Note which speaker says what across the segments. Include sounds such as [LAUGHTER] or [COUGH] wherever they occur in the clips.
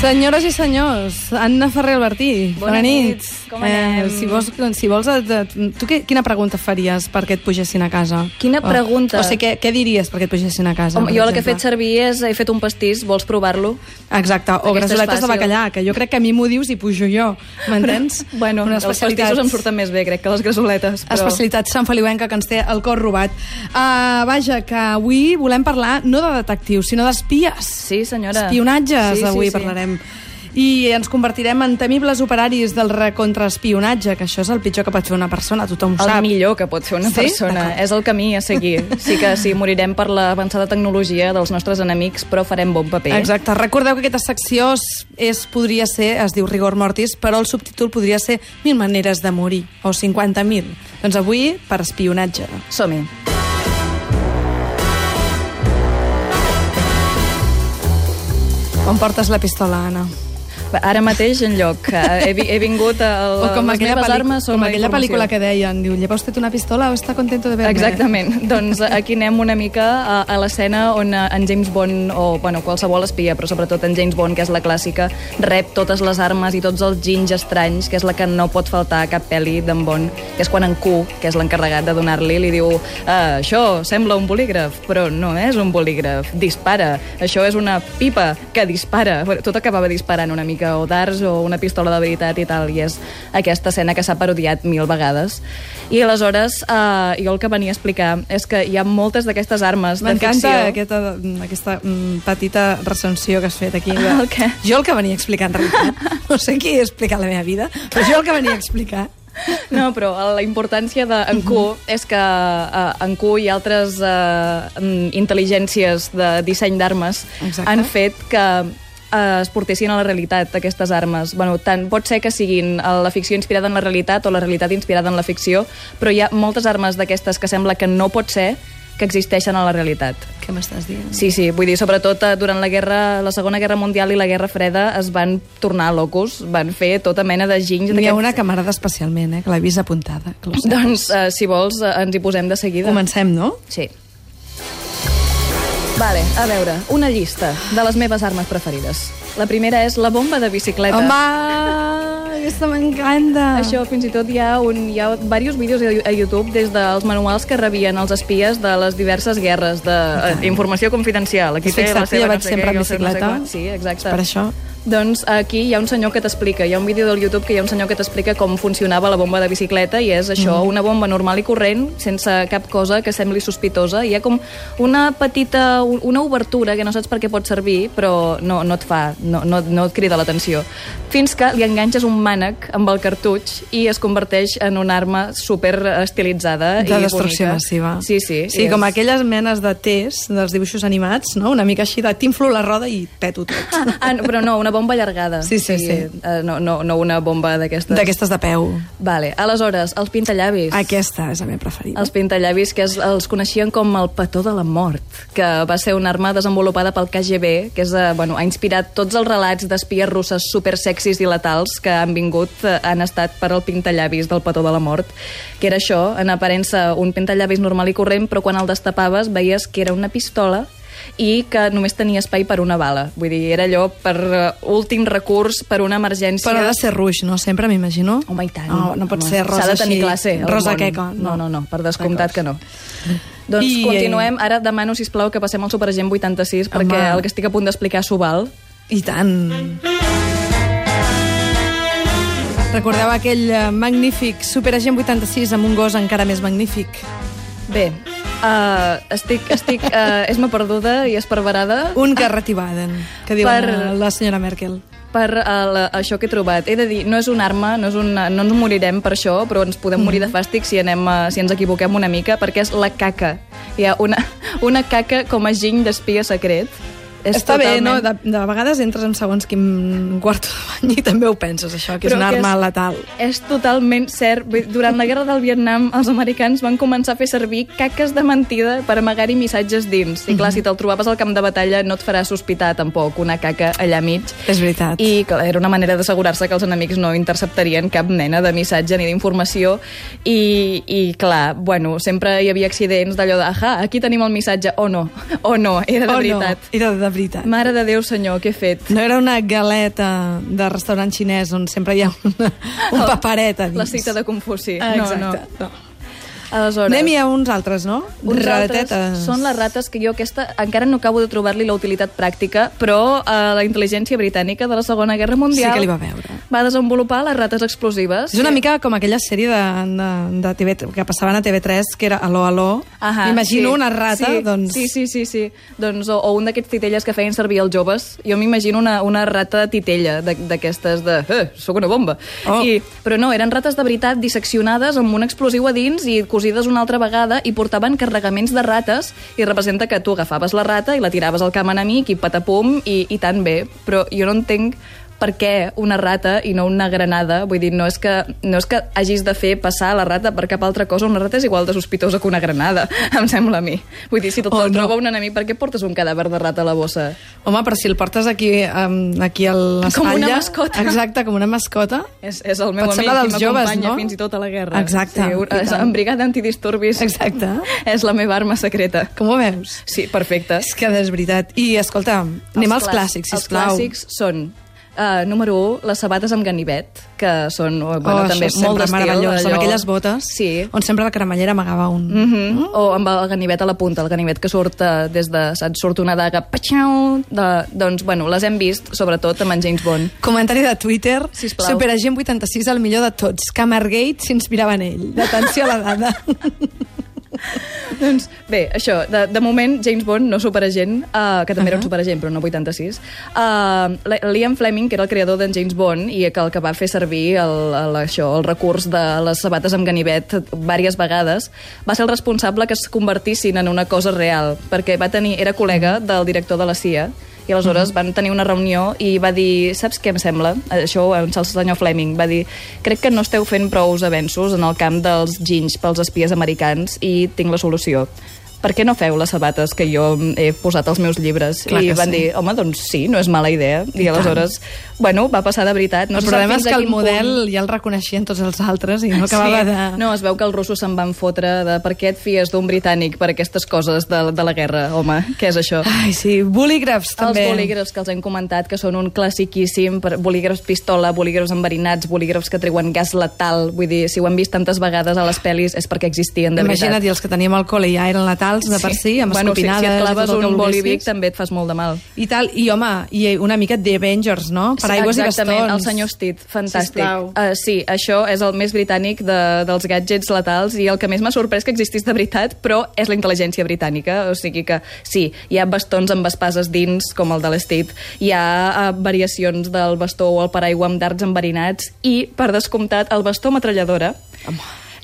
Speaker 1: Senyores i senyors, Anna Ferrer Albertí, Eh,
Speaker 2: Bona nit, com anem?
Speaker 1: si vols, si vols et- et- tu què, quina pregunta faries perquè et pugessin a casa?
Speaker 2: Quina
Speaker 1: O-
Speaker 2: pregunta?
Speaker 1: O sigui, què, què diries perquè et pugessin a casa?
Speaker 2: Home,
Speaker 1: Doncs, per
Speaker 2: jo el que he fet
Speaker 1: exemple?
Speaker 2: servir és, he fet un pastís, vols provar-lo?
Speaker 1: Exacte, o
Speaker 2: Aquesta és
Speaker 1: grassoletes de
Speaker 2: fàcil.
Speaker 1: bacallà, que jo crec que a mi m'ho dius i pujo jo, m'entens?
Speaker 2: [LAUGHS] Bueno,
Speaker 1: Una
Speaker 2: els pastissos em surten més bé, crec, que les grassoletes.
Speaker 1: Però... especialitat sanfeliuenca que ens té el cor robat. Uh, vaja, que avui volem parlar no de detectius, sinó d'espies.
Speaker 2: Sí, senyora.
Speaker 1: Espionatges,
Speaker 2: Sí, sí,
Speaker 1: avui
Speaker 2: sí.
Speaker 1: parlarem. I ens convertirem en temibles operaris del contraespionatge, que això és el pitjor que pot fer una persona, tothom ho
Speaker 2: El
Speaker 1: sap.
Speaker 2: millor que pot fer una
Speaker 1: Sí?
Speaker 2: persona.
Speaker 1: D'acord.
Speaker 2: És el camí a seguir. Sí que sí, morirem per l'avançada tecnologia dels nostres enemics, però farem bon paper.
Speaker 1: Exacte. Recordeu que aquesta secció es, és, podria ser, es diu Rigor Mortis, però el subtítol podria ser Mil maneres de morir, o 50.000. Doncs avui, per espionatge.
Speaker 2: Som-hi.
Speaker 1: On portes la pistola, Anna?
Speaker 2: Va, Ara mateix, en lloc. Eh, He, vi- he vingut al...
Speaker 1: O com
Speaker 2: les
Speaker 1: aquella,
Speaker 2: meves
Speaker 1: pel·li-
Speaker 2: armes són
Speaker 1: com
Speaker 2: la
Speaker 1: aquella
Speaker 2: informació.
Speaker 1: pel·lícula que deien, diu, lleva usted una pistola o está contento de verme?
Speaker 2: Exactament. [LAUGHS] Doncs aquí anem una mica a, a l'escena on eh, en James Bond, o bueno, qualsevol espia, però sobretot en James Bond, que és la clàssica, rep totes les armes i tots els ginys estranys, que és la que no pot faltar a cap pel·li d'en Bond, que és quan en Q, que és l'encarregat de donar-li, li diu ah, això sembla un bolígraf, però no és un bolígraf, dispara, això és una pipa que dispara. Bueno, Tot acabava disparant una mica, o darts o una pistola de veritat i tal, i és aquesta escena que s'ha parodiat mil vegades. I aleshores, eh, jo el que venia a explicar és que hi ha moltes d'aquestes armes de ficció...
Speaker 1: M'encanta aquesta, aquesta mm, petita recensió que has fet aquí.
Speaker 2: Ah, [LAUGHS] el què?
Speaker 1: Jo el que venia a explicar, en realitat. [LAUGHS] No sé qui he explicat la meva vida, però jo el que venia a explicar...
Speaker 2: [LAUGHS] No, però eh, la importància d'en Q
Speaker 1: Mhm.
Speaker 2: és que eh, en Q i altres eh, mm, intel·ligències de disseny d'armes
Speaker 1: Exacte.
Speaker 2: han fet que eh, es portessin a la realitat aquestes armes. Bueno, tant pot ser que siguin eh, la ficció inspirada en la realitat o la realitat inspirada en la ficció, però hi ha moltes armes d'aquestes que sembla que no pot ser que existeixen a la realitat.
Speaker 1: Què m'estàs dient?
Speaker 2: Sí, sí, vull dir, sobretot eh, durant la guerra, la Segona Guerra Mundial i la Guerra Freda es van tornar locos, van fer tota mena de ginys.
Speaker 1: N'hi ha
Speaker 2: d'aquests-
Speaker 1: una camarada especialment, eh, que l'he vist apuntada. Que ho sé.
Speaker 2: [LAUGHS] doncs, eh, si vols, eh, ens hi posem de seguida.
Speaker 1: Comencem, no?
Speaker 2: Sí. Vale, a veure, una llista de les meves armes preferides. La primera és la bomba de bicicleta.
Speaker 1: Home, aquesta m'encanta.
Speaker 2: Això fins i tot hi ha, un, hi ha diversos vídeos a Yo- a YouTube des dels manuals que rebien els espies de les diverses guerres de eh, informació confidencial. Aquí
Speaker 1: Has
Speaker 2: té
Speaker 1: fixat
Speaker 2: la
Speaker 1: que
Speaker 2: seva
Speaker 1: jo
Speaker 2: no
Speaker 1: vaig
Speaker 2: sé
Speaker 1: sempre
Speaker 2: què,
Speaker 1: en
Speaker 2: i el seu no sé
Speaker 1: bicicleta?
Speaker 2: quant. Sí, exacte.
Speaker 1: Per això.
Speaker 2: Doncs aquí hi ha un senyor que t'explica, hi ha un vídeo del YouTube que hi ha un senyor que t'explica com funcionava la bomba de bicicleta i és això,
Speaker 1: Mhm.
Speaker 2: mm. una bomba normal i corrent, sense cap cosa que sembli sospitosa. Hi ha com una petita, un- una obertura que no saps per què pot servir, però no, no et fa, no, no, no et crida l'atenció. Fins que li enganxes un mànec amb el cartutx i es converteix en una arma super estilitzada i
Speaker 1: De destrucció
Speaker 2: bonica.
Speaker 1: massiva.
Speaker 2: Sí, sí.
Speaker 1: Sí,
Speaker 2: i
Speaker 1: com
Speaker 2: és-
Speaker 1: aquelles menes de tes dels dibuixos animats, no? Una mica així de t'inflo la roda i peto
Speaker 2: [LAUGHS]
Speaker 1: tot.
Speaker 2: [LAUGHS] Ah, no, però no, una bomba allargada.
Speaker 1: Sí, sí,
Speaker 2: O sigui,
Speaker 1: sí.
Speaker 2: eh, No, no, no una bomba d'aquestes...
Speaker 1: D'aquestes de peu.
Speaker 2: Vale, aleshores, els pintallavis.
Speaker 1: Aquesta és la meva preferida.
Speaker 2: Els pintallavis, que es, els coneixien com el petó de la mort, que va ser una arma desenvolupada pel KGB, que és, eh, bueno, ha inspirat tots els relats d'espies russes supersexis i letals que han vingut, eh, han estat per al pintallavis del petó de la mort, que era això, en aparença un pintallavis normal i corrent, però quan el destapaves veies que era una pistola i que només tenia espai per una bala. Vull dir, era allò per eh, últim recurs, per una emergència...
Speaker 1: Però ha de ser ruix, no? Sempre m'imagino.
Speaker 2: Home, i tant.
Speaker 1: No, no pot
Speaker 2: Home,
Speaker 1: ser rosa
Speaker 2: S'ha de tenir
Speaker 1: així,
Speaker 2: classe. el
Speaker 1: Rosa
Speaker 2: món.
Speaker 1: queca.
Speaker 2: No, no, no, per descomptat que no. Doncs
Speaker 1: I- eh,
Speaker 2: continuem. Ara demano, si plau que passem al Superagent 86,
Speaker 1: Home.
Speaker 2: perquè el que estic a punt d'explicar s'ho val.
Speaker 1: I tant. Recordeu aquell eh, magnífic Superagent 86 amb un gos encara més magnífic?
Speaker 2: Bé, uh, estic, estic, uh, [LAUGHS] és ma perduda i esparverada
Speaker 1: Un que retibaden, que diu
Speaker 2: Per-
Speaker 1: la, la senyora Merkel.
Speaker 2: per uh, la, això que he trobat. He de dir, no és una arma, no, és una, no ens morirem per això, però ens podem
Speaker 1: Mhm.
Speaker 2: morir de fàstic si, anem, uh, si ens equivoquem una mica, perquè és la caca. Hi ha una, [LAUGHS] una caca com a giny d'espia secret. És
Speaker 1: Està bé, no?
Speaker 2: totalment-
Speaker 1: De, de vegades entres en segons quin quarto de bany i també ho penses, això, que és
Speaker 2: Però
Speaker 1: una
Speaker 2: que
Speaker 1: arma
Speaker 2: és-
Speaker 1: letal.
Speaker 2: És totalment cert. Vull dir, Durant la guerra del Vietnam, els americans van començar a fer servir caques de mentida per amagar-hi missatges dins. I clar,
Speaker 1: Mhm.
Speaker 2: si te'l trobaves al camp de batalla no et farà sospitar tampoc una caca allà mig.
Speaker 1: És veritat.
Speaker 2: I clar, era una manera d'assegurar-se que els enemics no interceptarien cap mena de missatge ni d'informació. I, I clar, bueno, sempre hi havia accidents d'allò de, ah, aquí tenim el missatge, o no, o no, era de
Speaker 1: Oh,
Speaker 2: veritat.
Speaker 1: No, era de veritat.
Speaker 2: Mare de Déu, senyor, què he fet?
Speaker 1: No era una galeta de restaurant xinès on sempre hi ha
Speaker 2: [LAUGHS]
Speaker 1: una, un paperet a dins.
Speaker 2: La cita de Confuci.
Speaker 1: Ah,
Speaker 2: no, no.
Speaker 1: exacte. No, no.
Speaker 2: Aleshores...
Speaker 1: Anem-hi a uns altres, no?
Speaker 2: Uns
Speaker 1: Ratetes.
Speaker 2: altres són les rates que jo aquesta encara no acabo de trobar-li la utilitat pràctica, però eh, la intel·ligència britànica de la Segona Guerra Mundial
Speaker 1: Sí que li va veure.
Speaker 2: va desenvolupar les rates explosives.
Speaker 1: És una mica com aquella sèrie de, de, de TV, que passaven a TV3, que era Aló, Aló.
Speaker 2: Ahà,
Speaker 1: M'imagino una rata,
Speaker 2: sí,
Speaker 1: doncs...
Speaker 2: Sí, sí, sí, sí. Doncs, o, o un d'aquests titelles que feien servir els joves. Jo m'imagino una, una rata de titella, de- d'aquestes de... Eh, sóc una bomba.
Speaker 1: Oh.
Speaker 2: I, però no, eren rates de veritat disseccionades amb un explosiu a dins i cosides una altra vegada i portaven carregaments de rates i representa que tu agafaves la rata i la tiraves al camp enemic i patapum i, i tan bé. Però jo no entenc per què una rata i no una granada? Vull dir, no és, que, no és que hagis de fer passar la rata per cap altra cosa. Una rata és igual de sospitosa que una granada, [LAUGHS] em sembla a mi. Vull dir, si tot
Speaker 1: Oh,
Speaker 2: oh,
Speaker 1: no.
Speaker 2: troba un enemic, per què portes un cadàver de rata a la bossa?
Speaker 1: Home, però si el portes aquí, um, aquí a l'espatlla...
Speaker 2: una mascota.
Speaker 1: Exacte, com una mascota.
Speaker 2: És, és el meu
Speaker 1: Pot
Speaker 2: amic
Speaker 1: semblar dels
Speaker 2: que m'acompanya
Speaker 1: joves, no?
Speaker 2: fins i tot a la guerra.
Speaker 1: Exacte,
Speaker 2: Sí, un-
Speaker 1: i tant.
Speaker 2: en brigada antidisturbis.
Speaker 1: Exacte.
Speaker 2: [LAUGHS] És la meva arma secreta.
Speaker 1: Com ho veus?
Speaker 2: Sí, perfecte.
Speaker 1: És que és veritat. I, escolta, anem als clàssics, sisplau.
Speaker 2: Els clàssics són... Uh, número 1, les sabates amb ganivet, que són oh, bueno,
Speaker 1: oh, això
Speaker 2: també
Speaker 1: és sempre
Speaker 2: molt d'estil.
Speaker 1: meravellós,
Speaker 2: allò-
Speaker 1: amb aquelles botes Mm-hmm.
Speaker 2: Sí.
Speaker 1: on sempre la cremallera amagava un...
Speaker 2: Mm -hmm. O amb el ganivet a la punta, el ganivet que surt eh, des de... Saps? Surt una daga... Patxau, de, doncs, bueno, les hem vist, sobretot, amb en James Bond.
Speaker 1: Comentari de Twitter,
Speaker 2: Sisplau.
Speaker 1: Superagent 86, el millor de tots. Camergate s'inspirava en ell. Atenció a la
Speaker 2: [LAUGHS]
Speaker 1: dada.
Speaker 2: doncs, bé, això, de, de moment, James Bond, no superagent, uh, que també uh -huh. era un superagent, però no 86, uh, Liam Fleming, que era el creador d'en James Bond, i que el que va fer servir el, el, això, el recurs de les sabates amb ganivet diverses vegades, va ser el responsable que es convertissin en una cosa real, perquè va tenir, era col·lega del director de la CIA, i aleshores van tenir una reunió i va dir, saps què em sembla? Això en el senyor Fleming va dir, crec que no esteu fent prous avenços en el camp dels ginys pels espies americans i tinc la solució. Per què no feu les sabates que jo he posat als meus llibres?
Speaker 1: Clar
Speaker 2: I
Speaker 1: que
Speaker 2: van
Speaker 1: sí.
Speaker 2: dir, home, doncs sí, no és mala idea. I,
Speaker 1: I tant.
Speaker 2: aleshores, bueno, va passar de veritat. No
Speaker 1: el
Speaker 2: se sap
Speaker 1: problema
Speaker 2: fins
Speaker 1: és que
Speaker 2: a
Speaker 1: el
Speaker 2: quin punt-
Speaker 1: model ja el reconeixien tots els altres i no acabava
Speaker 2: sí.
Speaker 1: de...
Speaker 2: No, es veu que els russos se'n van fotre de per què et fies d'un britànic per aquestes coses de, de la guerra, home, què és això?
Speaker 1: Ai, sí, bolígrafs, també.
Speaker 2: Els bolígrafs que els hem comentat, que són un classiquíssim, per- bolígrafs pistola, bolígrafs enverinats, bolígrafs que treuen gas letal, vull dir, si ho hem vist tantes vegades a les pel·lis és perquè existien, de
Speaker 1: Imagina't,
Speaker 2: veritat.
Speaker 1: i els que teníem al col·le ja eren letals de per si, amb
Speaker 2: bueno, si, si
Speaker 1: escopinades...
Speaker 2: et claves
Speaker 1: i tot el que
Speaker 2: un bolivic
Speaker 1: volguessis.
Speaker 2: també et fas molt de mal.
Speaker 1: I tal, i home, i una mica The Avengers, no? Paraigües i bastons.
Speaker 2: Exactament, el senyor Steed, fantàstic.
Speaker 1: Sisplau.
Speaker 2: Uh, sí, això és el més britànic de, dels gadgets letals i el que més m'ha sorprès que existís de veritat, però és la intel·ligència britànica, o sigui que sí, hi ha bastons amb espases dins, com el de l'Steed, hi ha uh, variacions del bastó o el paraigua amb darts enverinats i, per descomptat, el bastó metralladora,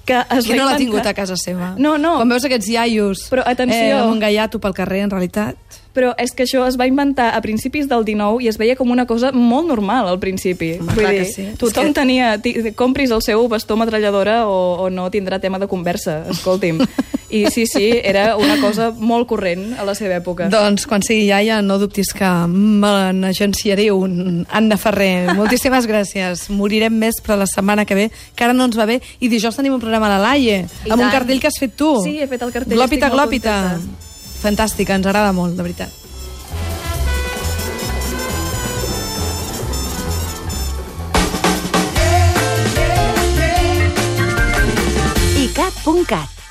Speaker 2: que es
Speaker 1: Que
Speaker 2: va
Speaker 1: no l'ha
Speaker 2: inventar-
Speaker 1: tingut a casa seva.
Speaker 2: No, no.
Speaker 1: Quan veus aquests iaios
Speaker 2: Però, atenció.
Speaker 1: eh, amb un gaiato pel carrer, en realitat...
Speaker 2: Però és que això es va inventar a principis del 19 i es veia com una cosa molt normal al principi.
Speaker 1: Home, Ah, clar que sí.
Speaker 2: tothom
Speaker 1: És que-
Speaker 2: que... tenia... ti- Compris el seu bastó metralladora o, o no tindrà tema de conversa, escolti'm.
Speaker 1: [LAUGHS]
Speaker 2: I sí, sí, era una cosa molt corrent a la seva època.
Speaker 1: Doncs quan sigui iaia, no dubtis que me n'agenciaré un. Anna Ferrer, moltíssimes gràcies. Morirem més per la setmana que ve, que ara no ens va bé. I dijous tenim un programa a la Laie,
Speaker 2: I
Speaker 1: amb un
Speaker 2: tant.
Speaker 1: cartell que has fet tu.
Speaker 2: Sí, he fet el cartell,
Speaker 1: Glòpita,
Speaker 2: estic molt
Speaker 1: glòpita.
Speaker 2: contenta.
Speaker 1: Fantàstica, ens agrada molt, de veritat.
Speaker 3: icat.cat